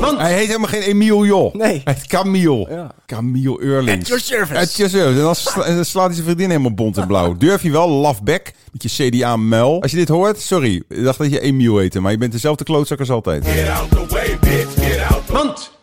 Man. Hij heet helemaal geen Emiel Jol. Nee. Hij heet Camille. Ja. Camille Eurlings. At your service. At your service. En dan sla- en dan slaat hij zijn vriendin helemaal bont en blauw. Durf je wel, lafbek, met je CDA-muil. Als je dit hoort, sorry. Ik dacht dat je Emiel heette, maar je bent dezelfde klootzak als altijd. Get out the way, bitch. Get out the Mand.